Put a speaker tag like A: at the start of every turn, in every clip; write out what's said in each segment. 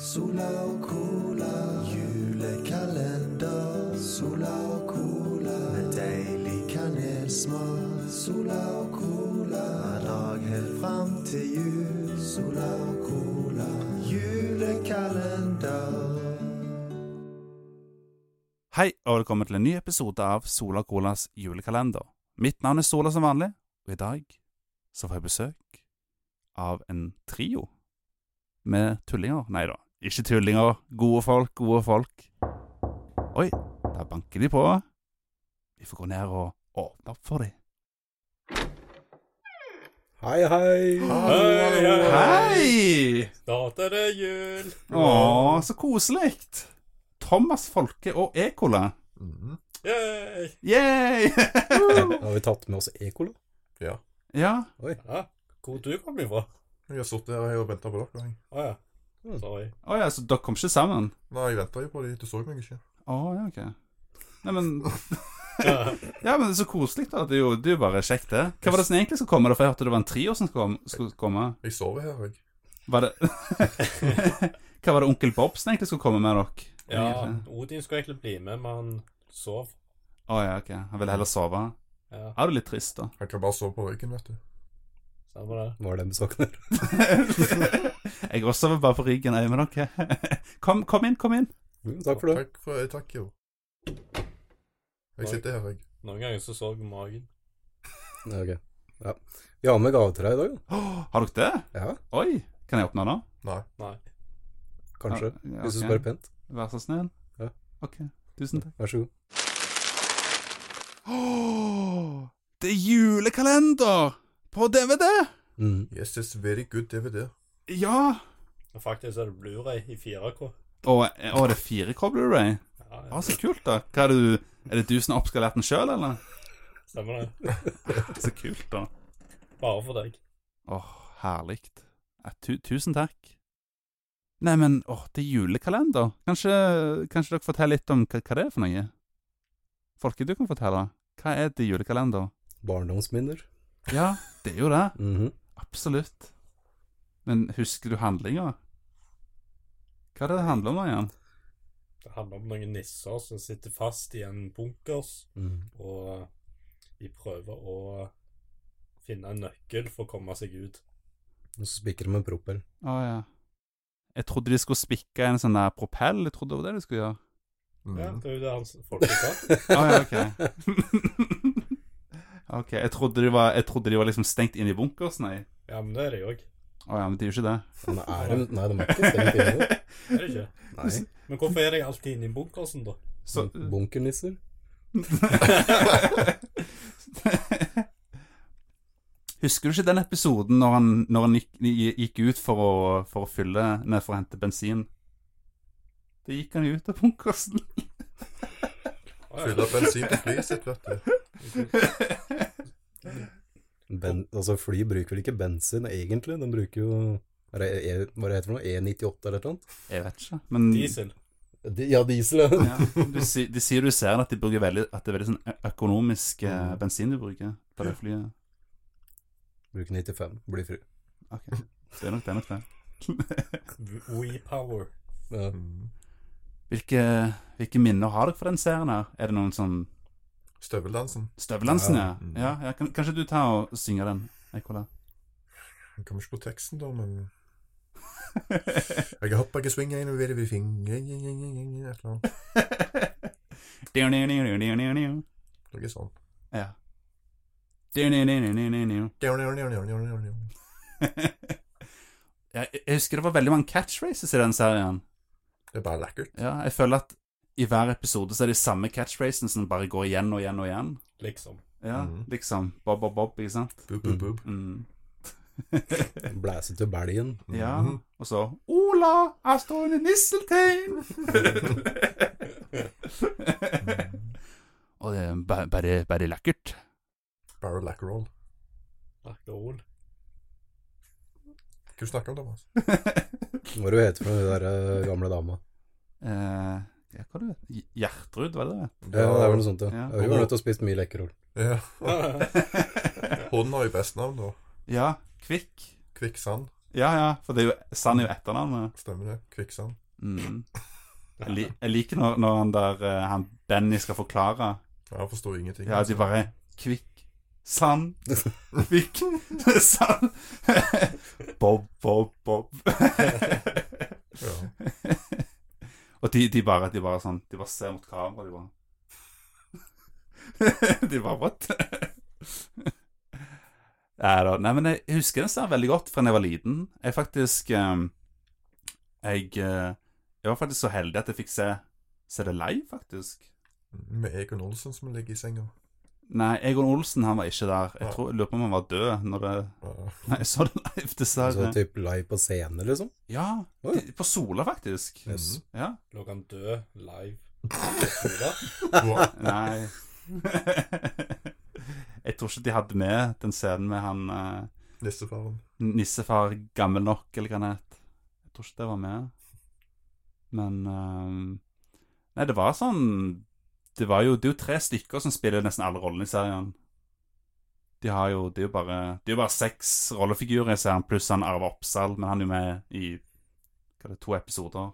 A: Sola og cola. Julekalender. Sola og cola. Med deilig kanelsmak. Sola og cola. Hver dag helt fram til jul. Sola og cola. Julekalender.
B: Hei, og velkommen til en ny episode av Sola Colas julekalender. Mitt navn er Sola som vanlig, og i dag så får jeg besøk av en trio med tullinger. Nei da, ikke tullinger. Gode folk, gode folk. Oi, der banker de på. Vi får gå ned og åpne opp for dem.
C: Hei, hei.
D: Hei, hei.
B: Hei!
D: Snart er det jul.
B: Å, så koselig! Thomas Folke og Ekola.
C: Mhm.
D: Yay.
B: Yay!
C: Har vi tatt med oss ekola?
B: ja,
D: Ja, hvor du kom ifra?
E: Jeg har sittet her og venta på dere. Jeg.
D: Å ja. Sorry.
B: Å ja, så dere kom ikke sammen?
E: Nei, jeg venta jo på dem. Du så meg ikke.
B: Å ja, ok. Nei, men
D: Ja.
B: Ja, men det er så koselig da, det er jo, det er jo bare kjekt det Hva var det som egentlig skulle komme da, for jeg hørte det var en trio som skulle, kom- skulle komme
E: Jeg sover her, jeg.
B: Var det Hva var det onkel Bob som egentlig skulle komme med dere?
D: ja,
B: Egentlig?
D: Odin skulle egentlig bli med, men han sov.
B: Å ja, ok, han ville heller sove Ja,
D: Ja,
B: det er jo litt trist da
E: Jeg kan bare sove på ryggen, vet du.
D: så var det.
C: Var det med saken der?
B: Jeg også vil bare på ryggen, jeg med dere kom, kom inn, kom inn
C: Mm, Takk for det.
E: Takk, for, eh, takk jo. Jeg sitter her, jeg.
D: Noen ganger så sov jeg magen.
C: Ja, ok. Ja. Vi har med gave til deg i dag, da.
B: Åh, Har dere det?
C: Ja,
B: Oi, kan jeg åpne den da?
E: Nei.
D: Nei.
C: kanskje.
B: Ja,
C: Hvis du
B: ok.
C: spør pent.
B: Vær så snill
C: Ja.
B: Ok, tusen takk
C: Vær så god.
B: Åh, det er julekalender På DVD
C: Mm.
E: Yes, it's very good DVD.
B: Ja,
D: Og Faktisk er det Blu-ray i 4K.
B: Og, og det er fire k Blu-ray?
D: Ja,
B: Å, så kult, da. Hva er, det du, er det du som har oppskalert den sjøl, eller?
D: stemmer det.
B: Så kult, da.
D: Bare for deg.
B: Åh, herlig. Ja, tu, tusen takk. Neimen, åh, det er julekalender. Kanskje, kanskje dere forteller litt om hva, hva det er for noe? Folke, du kan fortelle. Hva er det julekalender?
C: Barndomsminner.
B: Ja, det er jo det.
C: Mhm.
B: Absolutt. Men husker du handlinga? Hva er det det handler om da igjen?
D: Det handler om noen nisser som sitter fast i en bunkers,
C: Mhm.
D: og eh, de prøver å finne en nøkkel for å komme seg ut.
C: Og så spikker de med en propell.
B: Å ja. Jeg trodde de skulle spikke en sånn der propell. Jeg trodde det var det de skulle gjøre.
E: Mm.
D: Ja, det er jo det han folk sa.
B: Å ja, ok. ok, jeg trodde, de var, jeg trodde de var liksom stengt inn i bunkers, nei.
D: Ja, men det er det jo òg.
B: Å ja, men det er jo ikke det.
C: Men er de, nei, de er ikke stengt inne.
D: Er det ikke?
C: Nei. Mm.
D: Men hvorfor er de alltid inne i bunkersen, da?
B: Så,
C: Bunkernisser.
B: Husker du ikke den episoden når han, når han gikk, gikk ut for å, for å fylle Nei, for å hente bensin? Da gikk han ut av bunkersen.
D: Å, ja.
E: Fyller bensin til flyet sitt, vet du.
C: Ben, altså, fly bruker vel ikke bensin egentlig? De bruker jo er det, E- Hva det heter for noe? E98 eller noe?
B: Jeg vet ikke, men
D: Diesel.
C: De, ja, diesel. ja.
B: Ja, du, si- de sier du ser at, de bruker veldig, at det er veldig sånn ø- økonomisk eh, bensin de bruker på det flyet.
C: Bruker 95. Blir fri.
B: Ok, det er nok det. er nok det.
D: WePower.
C: Ja.
E: Mm.
B: Hvilke, hvilke minner har dere fra den serien her? Er det noen sånn
E: Støveldansen.
B: Støveldansen, ja?
C: Ja.
E: Mm.
B: ja, ja kan, kanskje du tar og synger den, Ekola?
E: Jeg kommer ikke på teksten, da, men Jeg har hoppa ikke svinga inn over i fingre Et eller annet.
B: Ja.
E: Noe sånt. Down, down, down, down, down, down.
B: Jeg, jeg husker det var veldig mange catchphrases i den serien.
E: Det er bare lekkert.
B: Ja, jeg føler at i hver episode så er det de samme catchphrasene som bare går igjen og igjen og igjen.
D: Liksom.
B: Ja,
E: Mhm.
B: liksom. Bob, bob, bob, ikke sant?
E: Boop, boop, boop.
B: Mm.
C: Blæse til belgen.
B: Ja, og så Ola, her står en nisseltein! og det er ba- bare, bare lekkert.
E: Bare lackerol.
D: Lakkerol.
E: Hva du snakker du om, Thomas?
C: Hva er det hun heter for noe, hun der eh, gamle dama?
B: Eh, ja, hva er det? Gj- Gjertrud, var det det?
C: Ja, det er vel noe sånt, ja.
B: Ja.
C: Hun har nødt til å spise mye lekkerol.
E: Ja.
D: Ja,
E: Hun har jo best navn, da.
B: Ja, Kvikk.
E: Kvikksand.
B: Ja, ja, for det er jo Sand er jo etternavnet.
E: Stemmer det. Kvikksand.
B: Mm. Jeg, li jeg liker når, når han der eh, han Benny skal forklare.
E: Jeg forstår ingenting.
B: Ja, altså- de bare Kvikk, sand, kvikk, sand Bob, bob, bob.
E: Ja.
B: Og de, de bare De bare sånn De bare ser mot kamera, de bare De bare What? Nei da. Nei, men jeg husker den serien veldig godt fra da jeg var liten. Jeg faktisk eh, Jeg eh, Jeg var faktisk så heldig at jeg fikk se Se det live, faktisk.
E: Mm, Med Egon Olsen som ligger i senga.
B: Nei, Egon Olsen han var ikke der. Jeg tror, jeg lurer på om han var død når det
E: Ja.
B: Nei, jeg så det live,
C: Så
B: dessverre.
C: typ live på scene, liksom?
B: Ja,
C: Altså, Oi.
B: de- på Sola, faktisk.
C: Yes.
B: Ja.
D: Lå han død live? Sola?
E: Hva?
B: Nei. jeg tror ikke de hadde med den scenen med han eh,
E: Nissefaren.
B: nissefar gammel nok, eller hva han het. Jeg tror ikke det var med. Men eh, Nei, det var sånn Det var jo, det er jo tre stykker som spiller nesten alle rollene i serien. De har jo, det er jo bare Det er jo bare seks rollefigurer i serien, pluss han Arve Oppsal, men han er jo med i hva er det, to episoder.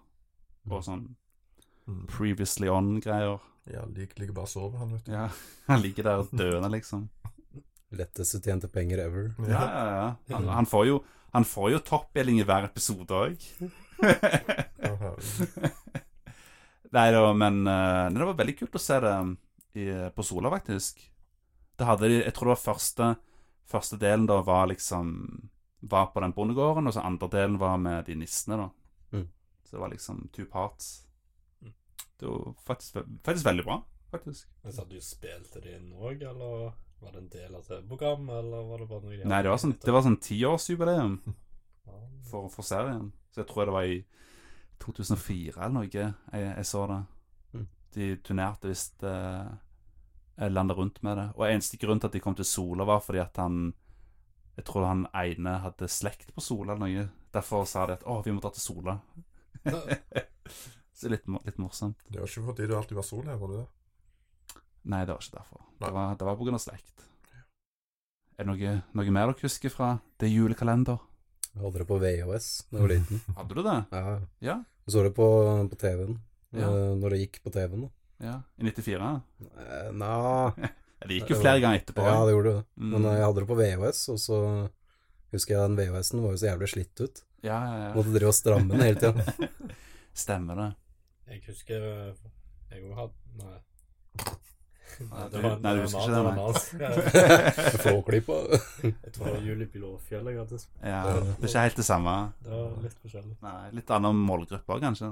B: Og sånn
E: Mm.
B: Previously On-greier.
E: Ja, lik, ligger bare og sover, han, vet du.
B: Ja, Han ligger der døende, liksom.
C: Letteste tjente penger ever.
B: Ja, ja, ja. Han, han får jo, han får jo toppdeling i hver episode òg.
E: Ja, herregud.
B: Nei da, men eh, nei, det var veldig kult å se det um, i, på Sola, faktisk. Det hadde de, Jeg tror det var første, første delen da var liksom Var på den bondegården, og så andre delen var med de nissene, da.
C: Mm.
B: Så det var liksom two parts.
D: Mm.
B: Det var faktisk, ve- faktisk veldig bra, faktisk.
D: Men så hadde du spilt det inn òg, eller var det en del av TV-programmet, eller var det bare noe de hadde
B: Nei, det var sånn,
D: etter?
B: det var sånn tiårsjubileum.
D: Ja.
B: for, for serien. Så jeg tror det var i 2004 eller noe jeg, jeg så det.
C: Mm.
B: De turnerte visst eh, landet rundt med det. Og eneste grunn til at de kom til Sola, var fordi at han Jeg tror han ene hadde slekt på Sola eller noe. Derfor sa de at å, vi må dra til Sola. så litt, mo- litt morsomt.
E: Det var ikke fordi det alltid var sol her, var det det?
B: Nei, det var ikke derfor.
E: Nei.
B: Det var, det var på grunn av slekt. Er det noe, noe mer dere husker fra det er julekalender?
C: Jeg hadde det på VHS da jeg var liten.
B: Hadde du det?
C: Ja.
B: Ja.
C: Jeg så det på, på TV-en.
B: Ja.
C: eh, Når det gikk på TV-en, da.
B: Ja, I 94?
C: Eh, Nja
B: Det gikk jo flere ganger etterpå.
C: Ja, det gjorde det. Men
B: Mm.
C: eh, jeg hadde det på VHS, og så husker jeg den VHS-en var jo så jævlig slitt ut.
B: Ja, ja, ja.
C: Måtte drive og stramme den hele tida.
B: Stemmer det.
D: Jeg husker eh, jeg òg hadde Nei.
B: Nei, du- nei, du husker ikke det, nei.
D: det, nei.
C: Flåklypa.
D: Jeg tror det var Juli Pilåfjell jeg hadde.
B: Ja, det er ikke helt det samme.
D: Det var litt forskjellig.
B: Nei, Litt annen målgruppe òg, kanskje.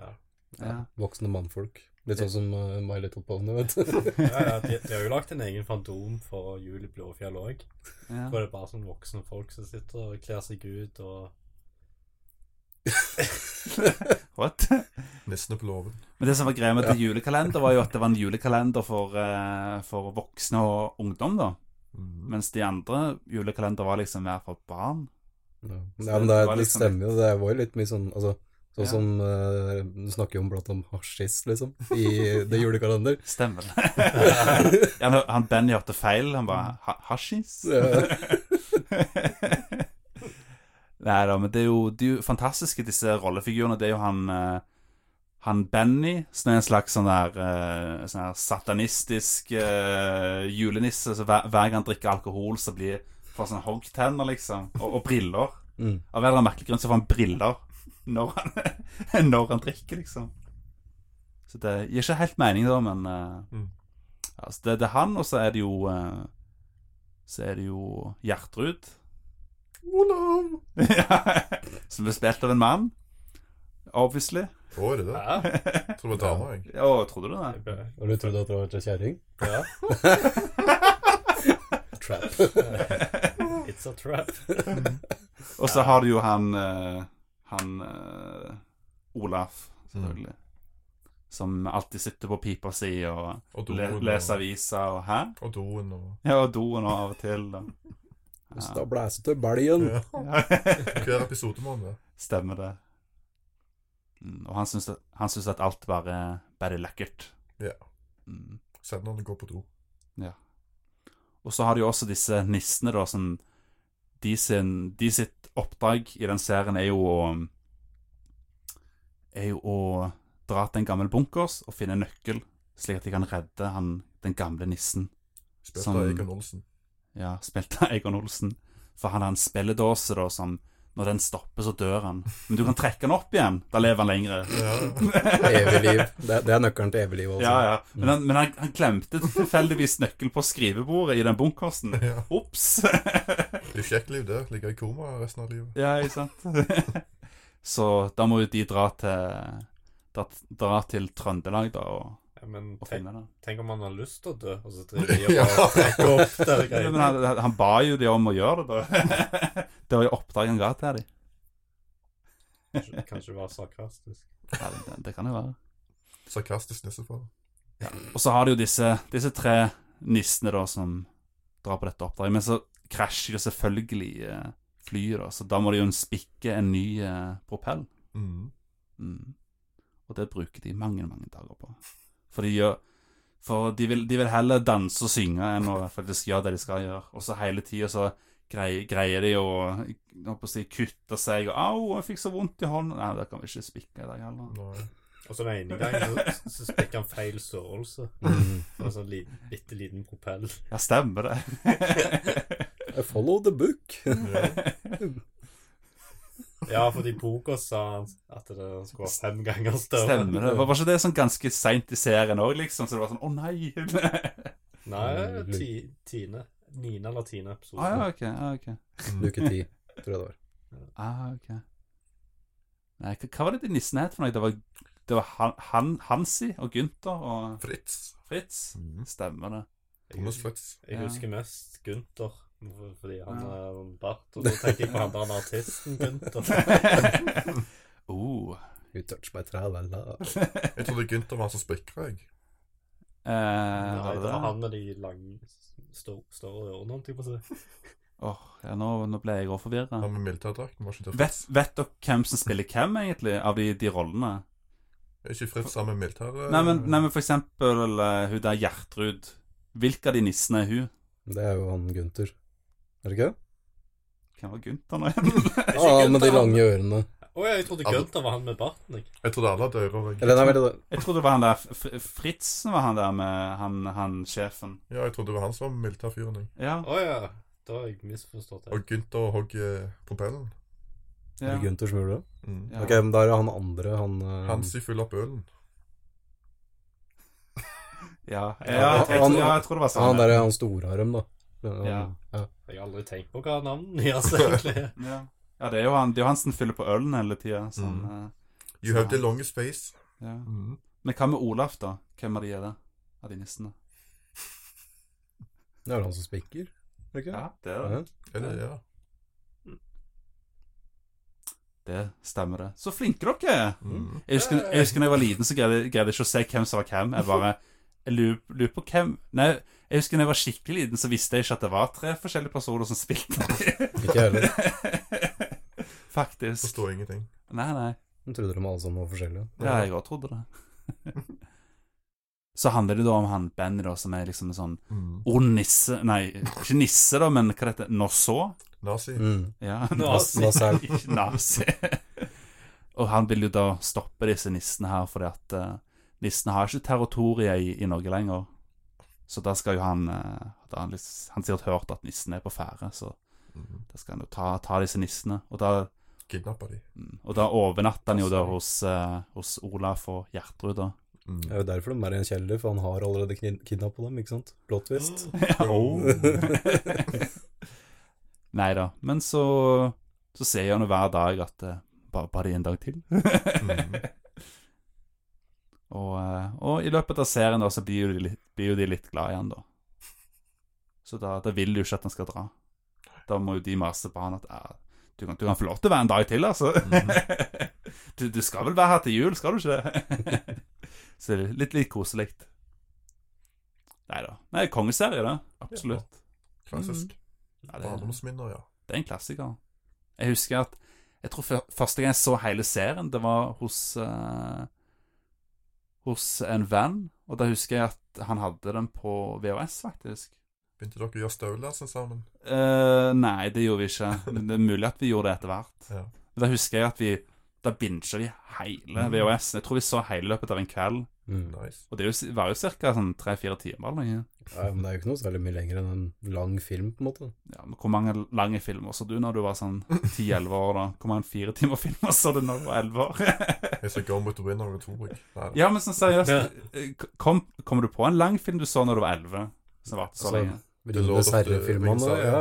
D: Ja.
B: Ja.
C: Voksne mannfolk. Litt sånn som eh, My Little Pony, vet du.
D: Ja, ja, de, de har jo lagt en egen fandom for Juli Blåfjell òg.
B: Ja.
D: Hvor det er bare sånn voksne folk som sitter og kler seg ut og
B: What?
E: Nissene på låven.
B: Men det som var greia med til julekalender, var jo at det var en julekalender for, eh, for voksne og ungdom, da.
E: Mm.
B: Mens de andre julekalender var liksom mer for barn.
C: Ja,
B: Så
C: men
B: det var
C: det, er, det
B: liksom
C: stemmer jo. Det var jo litt mye sånn altså, Sånn
B: Ja.
C: som eh, Du snakker jo om blant om hasjist, liksom, i det julekalender.
B: Stemmer det? ja, når han Benny hørte feil. Han bare ha Hashis?
C: Ja.
B: Nei da, men det er, jo, det er jo fantastiske disse rollefigurene. Det er jo han eh, Han Benny, som er en slags sånn der, eh, sånn der satanistisk eh, julenisse. Så hver, hver gang han drikker alkohol, så blir får sånn hoggtenner, liksom. Og, og briller.
C: Mm.
B: Av en eller annen merkelig grunn så får han briller når han, når han drikker, liksom. Så det gir ikke helt mening, da, men eh,
E: Mm.
B: ja, så det, det er han, og så er det jo eh, Så er det jo Gjertrud. Ja, Som ble spilt av en mann. Obviously.
E: Å, er det det?
D: Hæ?
E: Jeg tror det var dama, jeg.
B: Å, trodde du det?
D: Jeg ble-
C: Og du trodde at det var ei kjerring?
D: Ja.
C: Trap.
D: It's a trap.
B: Og så har du jo han eh, Han eh, Olaf, selvfølgelig. Som alltid sitter på pipa si og
E: Og
B: le
E: doen.
B: leser
E: og-
B: aviser og Hæ?
E: Og doen og
B: Ja, og doen og av og til. Og.
C: Da blæser til belgen.
E: ja.
B: Ja.
E: Hver episode må han det.
B: Stemmer det. Mm, og han syns at, han syns at alt bare, bare er lekkert.
E: Ja.
B: Mm.
E: Selv når han går på do.
B: Og så har de jo også disse nissene, da, som de, sin, de sitt oppdrag i den serien er jo å er jo å dra til en gammel bunkers og finne en nøkkel, slik at de kan redde han, den gamle nissen.
E: Spilt
B: Som-
E: av Egon Olsen.
B: Ja, spilt av Egon Olsen. For han har en spilledåse da, som når den stopper, så dør han. Men du kan trekke den opp igjen. Da lever han lengre.
E: Ja.
C: Evig liv. Det, er- det er nøkkelen til evig liv, altså.
B: Ja, ja. Men han, men han, han glemte tilfeldigvis nøkkel på skrivebordet i den bunkersen.
E: ja.
B: Ops!
E: Det er kjekt liv, det. Ligger i koma resten av livet.
B: ja, ikke sant? så da må jo de dra til, dra, dra til Trøndelag da, og,
D: Ja, men
B: og
D: tenk,
B: finne den.
D: tenk om han har lyst til å dø, og så driver de
E: Ja.
D: og bare trekker opp der
B: Ja, men
D: greiene.
B: han, han ba jo de om å gjøre det, da. det var jo oppdraget han ga til dem.
D: Kanskje- Kanskje være sarkastisk.
B: Ja, det, det kan jo være.
E: Sarkastisk nissefar.
B: Og så har du jo disse, disse tre nissene da, som drar på dette oppdraget. Men så krasjer jo selvfølgelig eh, flyet, da, så da må de jo spikke en ny eh, propell.
E: Mm.
B: Mm. Og det bruker de mange, mange dager på. For de gjør For de vil, de vil heller danse og synge enn å faktisk gjøre det de skal gjøre. Og så hele tida så greier, greier de å jeg holdt på å si, kutte seg og 'Au, jeg fikk så vondt i hånden.' Nei, det kan vi ikke spikke i dag heller.
E: Nei.
D: Og så den ene gangen så, så spikker han feil størrelse.
C: Mm.
D: Det var En sånn liten, bitte liten propell.
B: Ja, stemmer det.
C: I Follow the book.
D: Ja, fordi Poker sa han at det skulle være fem ganger større.
B: Stemmer det. Var, var ikke det sånn ganske seint i serien òg, liksom? Så det var sånn 'Å, nei'.
D: Nei, ti, tiende. Niende eller tiende episode.
B: ah, ja, ok. Ah, ok.
C: Luke ti, tror jeg det var.
B: Ah, ok. Nei, hva, hva var det de nissene het for noe? Det var, det var han, han, Hansi og Gunther og
E: Fritz.
B: Fritz.
E: Mm.
B: Stemmer det.
E: Thomas Fritz.
D: Jeg
B: Ja.
D: husker mest Gunther, for- fordi han
B: Ja.
D: er en bart. Og så tenker jeg på han der han artisten Gunther.
B: oh.
C: You touch my tralala.
E: Jeg trodde Gunther var han som spikra, jeg.
B: Eh,
D: Nei,
B: var
D: det
B: det
D: var
B: det?
D: han med de lange, stå- større ørene, holdt jeg på å si.
B: Åh, ja, nå, nå ble jeg òg forvirra.
E: Han med militærdrakten var ikke til
B: Vet,
E: Fritz.
B: vet dere hvem som spiller hvem, egentlig, av de, de rollene?
E: Er ikke Fritz sammen med militær...
B: Nei, men, nei, men for eksempel eh, hun der Gjertrud. Hvilke av de nissene er hun?
C: Det er jo han Gunther. Er det ikke det?
B: Hvem var Gunther nå igjen?
D: Er ikke
C: Ah, med de
D: Gunther han-
C: lange ørene.
D: Å ja, jeg trodde Gunther var han med barten. jeg.
E: Jeg trodde alle hadde ører. jeg.
C: Eller nei, vel, det-
B: Jeg trodde det var han der Fr- Fritzen var han der med han, han sjefen.
E: Ja, jeg trodde det var han som var militærfyren. jeg.
B: Ja.
D: Å ja. Da har jeg misforstått det.
E: Og Gunther hogg eh, propellen.
C: er
B: ja.
C: det Gunther som gjorde det?
E: Mm.
B: Ja.
C: Ok, men da er det han andre, han eh,
E: Hansi fyller opp ølen.
B: Ja, ja,
C: Ja,
B: jeg, jeg,
C: han-
B: tror- ja, jeg tror det var
C: Ja, han
B: sånn.
C: der er han storarm, da. Han-
B: Ja.
C: ja.
D: Jeg har aldri tenkt på hva navnet hans egentlig er.
B: Ja. ja, det er jo han, det er jo han som fyller på ølen hele tida.
C: Mm.
B: Sånn,
E: You have the longest face.
B: eh, ja.
E: Mm.
B: Men hva med Olaf, da? Hvem av de er det? Av de nissene?
C: Det er han som spikker. Er det ikke det?
B: Ja, det er det.
C: Ja.
E: Eller, ja.
B: Det stemmer, det. Så flinke dere er!
E: Mm.
B: Jeg husker, jeg husker da jeg var liten, så greide greide jeg ikke å se hvem som var hvem. Jeg bare jeg lurer lurer på hvem Nei, jeg husker da jeg var skikkelig liten, så visste jeg ikke at det var tre forskjellige personer som spilte.
C: Ikke jeg heller.
B: Faktisk.
E: Forstår ingenting.
B: Nei, nei.
C: Jeg trodde de alle sammen var forskjellige.
B: Ja, jeg òg trodde det. Så handler det da om han Benny, da, som er liksom en sånn
E: Mm.
B: ond nisse Nei, ikke nisse, da, men hva heter det? Norså?
E: Nazi.
C: Mm.
B: Ja,
D: Nazi.
C: Nassau.
B: Ikke nazi. Og han vil jo da stoppe disse nissene her, fordi at eh, nissene har ikke territoriet i, i Norge lenger. Så da skal jo han eh, da har Han, litt- han sikkert hørt at nissen er på ferde, så
E: Mm.
B: da skal han jo ta, ta disse nissene. Og da
E: Kidnappa de.
B: Mm. Og da overnatter han jo da hos, eh, hos Olaf og Gjertrud, da.
E: Mm.
C: Det er jo derfor de er i en kjeller, for han har allerede kidnappa dem, ikke sant? Plot twist.
E: Oh.
B: Nei da. Men så, så ser han jo hver dag at eh, bare, bare en dag til.
E: Mm.
B: og, eh, og i løpet av serien da, så blir jo de litt, blir jo de litt glad i han da. Så da, da vil de jo ikke at han skal dra. Da må jo de mase på han at eh, du, kan, du kan få lov til å være en dag til, altså. du, du skal vel være her til jul, skal du ikke det? så det er litt, litt koselig. Nei da. Nei, kongeserie, det. Absolutt.
E: Klassisk.
B: Mm. Ja, det, er-
E: Barndomsminner, ja.
B: det er en klassiker. Jeg husker at Jeg tror før- første gang jeg så hele serien, det var hos eh, Hos en venn, og da husker jeg at han hadde den på VHS, faktisk.
E: Begynte dere å gjøre støvlessen sammen?
B: Mm. Eh, nei, det gjorde vi ikke. Men det er mulig at vi gjorde det etter hvert.
E: Ja.
B: Men da husker jeg at vi Da binsja vi hele VHS. Jeg tror vi så hele løpet av en kveld.
C: Mm.
E: Nice.
B: Og det er jo- var jo ca. Sånn tre-fire timer. eller noe.
C: Ja, men det er jo ikke noe særlig mye lenger enn en lang film, på en måte.
B: Ja, men Hvor mange lange filmer så du når du var sånn 10-11 år? da? Hvor mange fire timer filmer så du når du var 11 år?
E: Jeg ser Gone with the Winner og Torik. Nei,
B: ja, men sånn seriøst, kom, kommer du på en lang film du så når du var sånn 11? Som varte så
C: Altså,
B: lenge?
E: Lord of the Rings,
C: Ringenes herre-filmene. Ja,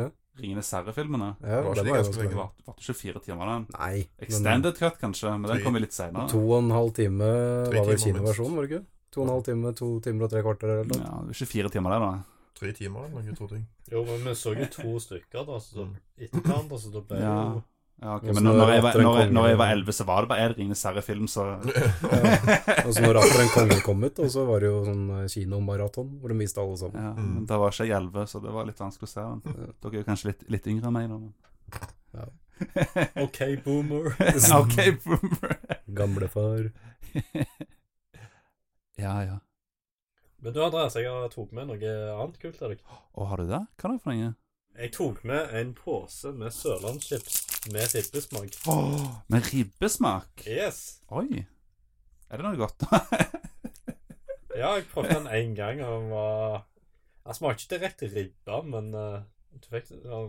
C: ja.
B: Ringenes herre-filmene?
C: ja
E: Det var ikke
C: den var jo
E: ganske lenge.
C: ganske
B: Det
C: lenge.
B: varte varte ikke fire timer, den.
C: Nei. men eh,
B: Extended cut, kanskje, men den kommer litt senere.
C: To og en halv time
E: Tre
C: var
E: timer
C: vel
E: minst.
C: kinoversjonen, var det ikke? To og en halv time, to timer og tre kvarter eller noe.
B: Ja, det er ikke fire timer der, da.
E: tre timer eller noe, tror jeg.
D: Jo, men vi så jo to stykker da, så etter hverandre, så da ble det
B: Ja.
D: jo
B: Ja, ok,
C: Og
B: men
C: så
B: når, når, jeg var,
C: Atter en
B: når, jeg,
C: konge.
B: når jeg var 11, så var det bare en Ringenes herre-film, så
C: Ja. Og så når Atter en konge kom ut, og så var det jo sånn eh, kinomaraton hvor de viste alle sammen.
B: ja, men Da var ikke jeg 11, så det var litt vanskelig å se den.
C: Ja.
B: Dere er jo kanskje litt, litt yngre enn meg, da. men-
D: OK, boomer.
B: OK, boomer.
C: Gamlefar.
B: ja, ja.
D: Men du, Andreas, jeg har tok med noe annet kult til deg.
B: Å, har du det? Hva er det for noe?
D: Jeg tok med en pose med sørlandschips med ribbesmak.
B: Åh, med ribbesmak.
D: Yes!
B: Oi. Er det noe godt, da?
D: Ja, jeg prøvde den én gang, og den var Den smakte ikke direkte ribba, men eh, du fikk den der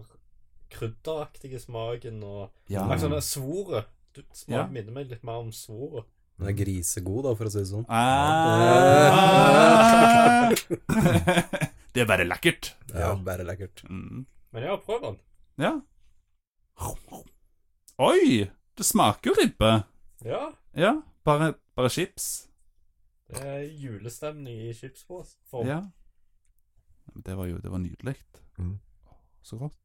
D: krydderaktige smaken og
B: ja.
D: Akkurat sånn svoret. Du-
B: Ja.
D: Smaken minner meg litt mer om svoret.
C: Den er grisegod, da, for å si det sånn.
B: Ah. det er bare lekkert.
C: Ja, bare lekkert.
B: Mm.
D: Men ja, prøv den.
B: Ja. Oi! Det smaker jo ribbe.
D: Ja.
B: Ja, bare, bare chips.
D: Det er julestemning i chipspose. For
B: Ja. Men Det var jo det var nydelig.
E: Mm.
B: Så godt.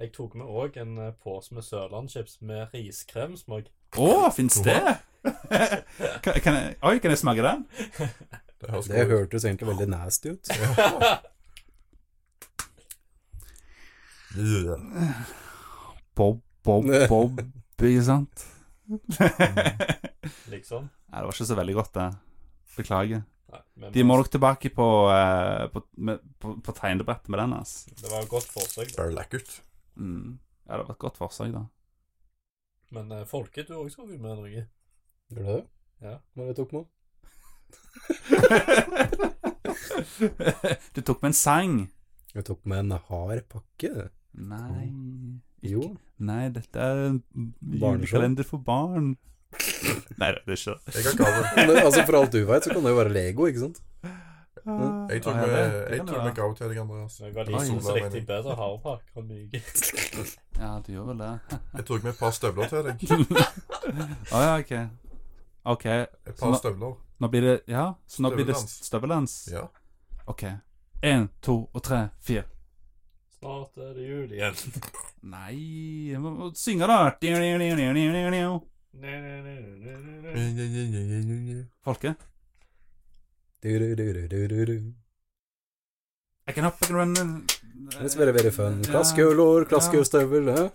D: jeg tok med òg en eh, pose med sørlandschips med riskremsmak.
B: Å, fins det? kan, kan jeg, oi, kan jeg smake den?
E: Det høres
C: Det
E: godt ut.
C: hørtes egentlig veldig nasty ut.
E: Yeah.
B: Bob, Bob, Bob, Mm. ikke sant?
D: liksom.
B: Nei, det var ikke så veldig godt, det. Beklager.
D: Nei, men
B: De må nok tilbake på, eh, på, med, på, på tegnebrettet med den, altså.
D: Det var et godt forsøk, da.
E: Bare lekkert.
B: Mm. Ja, det var et godt forsøk, da.
D: Men eh, Folke, du òg skal jo med noe.
C: Gjør det det?
D: Ja.
C: Når jeg tok med?
B: du tok med en sang.
C: Jeg tok med en hard pakke.
B: Nei
C: Jo.
B: Nei, dette er en
C: Barneshow.
B: julekalender for barn. Nei, det er ikke det.
E: Jeg har gave.
C: Men altså, for alt du veit, så kan det jo være Lego, ikke sant?
E: Jeg tok
B: Ja,
E: med,
B: det- det kan
E: jeg tok
B: det
E: med
B: være.
E: gave til deg, Andreas.
D: Jeg var
E: Nei,
D: liksom så
E: Ola,
D: likte jeg bedre hardpakke og myke.
B: Ja, du gjør vel det.
E: Jeg tok med et par støvler til deg.
B: Å ja, OK. OK,
E: Et
B: Så
E: par
B: nå-
E: støvler.
B: nå blir det Ja, så nå blir det
E: Støveldans.
B: støveldans?
E: Ja.
B: OK. Én, to og tre, fire.
D: Snart er det jul igjen.
B: Nei jeg må må synge, da.
D: Nei, nei, nei, nei, nei, nei.
B: Folke.
C: Du-du-du-du-du-du.
B: I can up, I can run eh,
C: It's very, very fun. Klaskehjulår, klaskehjulstøvel eh?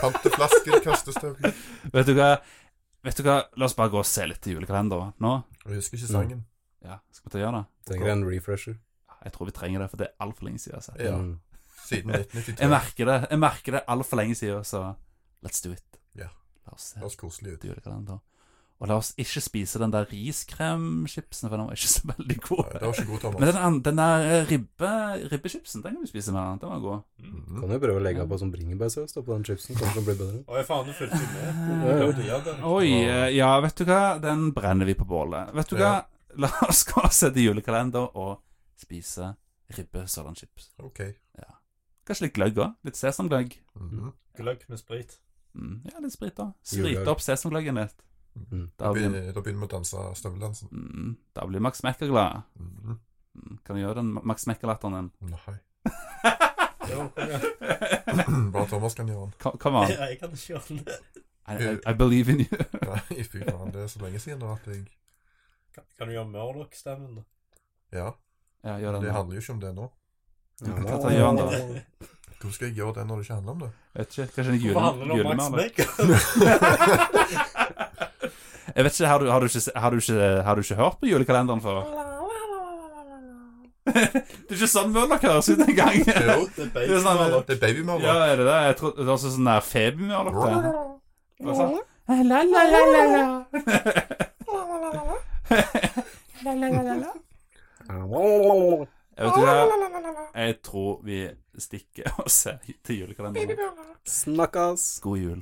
E: Panteflasker, kastestøvler.
B: Vet du hva? Vet du hva? La oss bare gå og se litt i julekalenderen nå.
E: Jeg husker ikke sangen.
B: Ja, Skal vi ta og gjøre det?
C: Trenger en refresher.
B: Jeg tror vi trenger det, for det er altfor lenge siden. jeg har sett det.
E: Ja.
C: Mm.
E: Siden
B: Jeg
E: 1993.
B: merker det. Jeg merker det altfor lenge siden, så let's do it.
E: Ja.
B: La oss
E: Det
B: se
E: høres koselig ut.
B: til julekalender. Og la oss ikke spise den der riskremchipsen, for den var ikke så veldig
E: Nei,
B: god.
E: det var ikke god,
B: Men
E: Thomas.
B: den, an- den der eh, ribbe, ribbechipsen, den kan vi spise mer. Den var god.
E: Mhm.
C: Kan jo prøve å legge på sånn bringebærsaus da, på den chipsen, kanskje den blir bedre.
D: Å, jeg faen, du fulgte ikke med.
C: Ja, ja.
D: Du hadde-
B: Oi, eh, ja, vet du hva? Den brenner vi på bålet. Vet du hva? La oss gå og sette julekalender og spise ribbe sørlandschips.
E: Ok.
B: Kanskje litt gløgg òg. Litt sesamgløgg.
E: Mhm.
D: Gløgg med sprit.
B: Mm, ja, litt sprit, da.
C: Julegløgg.
B: Sprite opp sesamgløggen litt.
C: Mm.
E: Da
B: Da blir
E: begynner da begynner vi å danse støveldansen.
B: Mm, da blir Max Mekker glad.
E: Mhm.
B: Mm, Kan du gjøre den Max Mekker-latteren din?
E: Nei.
D: Jo, kom igjen.
E: Bare Thomas kan gjøre den.
B: Come, come on.
D: Jeg kan ikke gjøre det.
B: I, I, I believe in you.
E: Nei, fy faen. Det er så lenge siden nå at jeg
D: Kan- Kan du gjøre Murloch-stemmen, da?
E: Ja,
B: Ja, gjør den.
E: det
B: da.
E: handler jo ikke om det nå.
B: Du kan ta Jørn, da.
E: Hvordan skal jeg gjøre det når det ikke handler om det?
B: Vet ikke, Kanskje en
D: Hvorfor handler det
B: jule-
D: om Max
B: julemål?
D: Becker?
B: Jeg vet ikke, har du, har, du ikke, har, du ikke, har du ikke hørt på julekalenderen før? Det er ikke sånn Murloc høres ut engang.
E: Jo,
D: Det er
B: Det er
D: baby.
B: sånn,
E: det er babymorlock.
B: ja, er det det? Jeg trodde det var sånn sånn der Feby-Murloc. det. Det var sånn,
F: Ah, La la la la la. La la la Oh, la la.
B: Jeg vet ikke hva. Jeg tror vi stikker og ser til julekalenderen.
C: Snakkes!
B: God jul.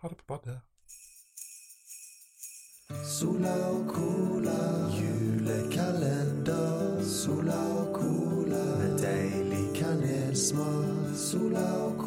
E: Ha det på badet.
A: Sola og cola, julekalender. Sola og cola, med deilig kanelsmak. Sola og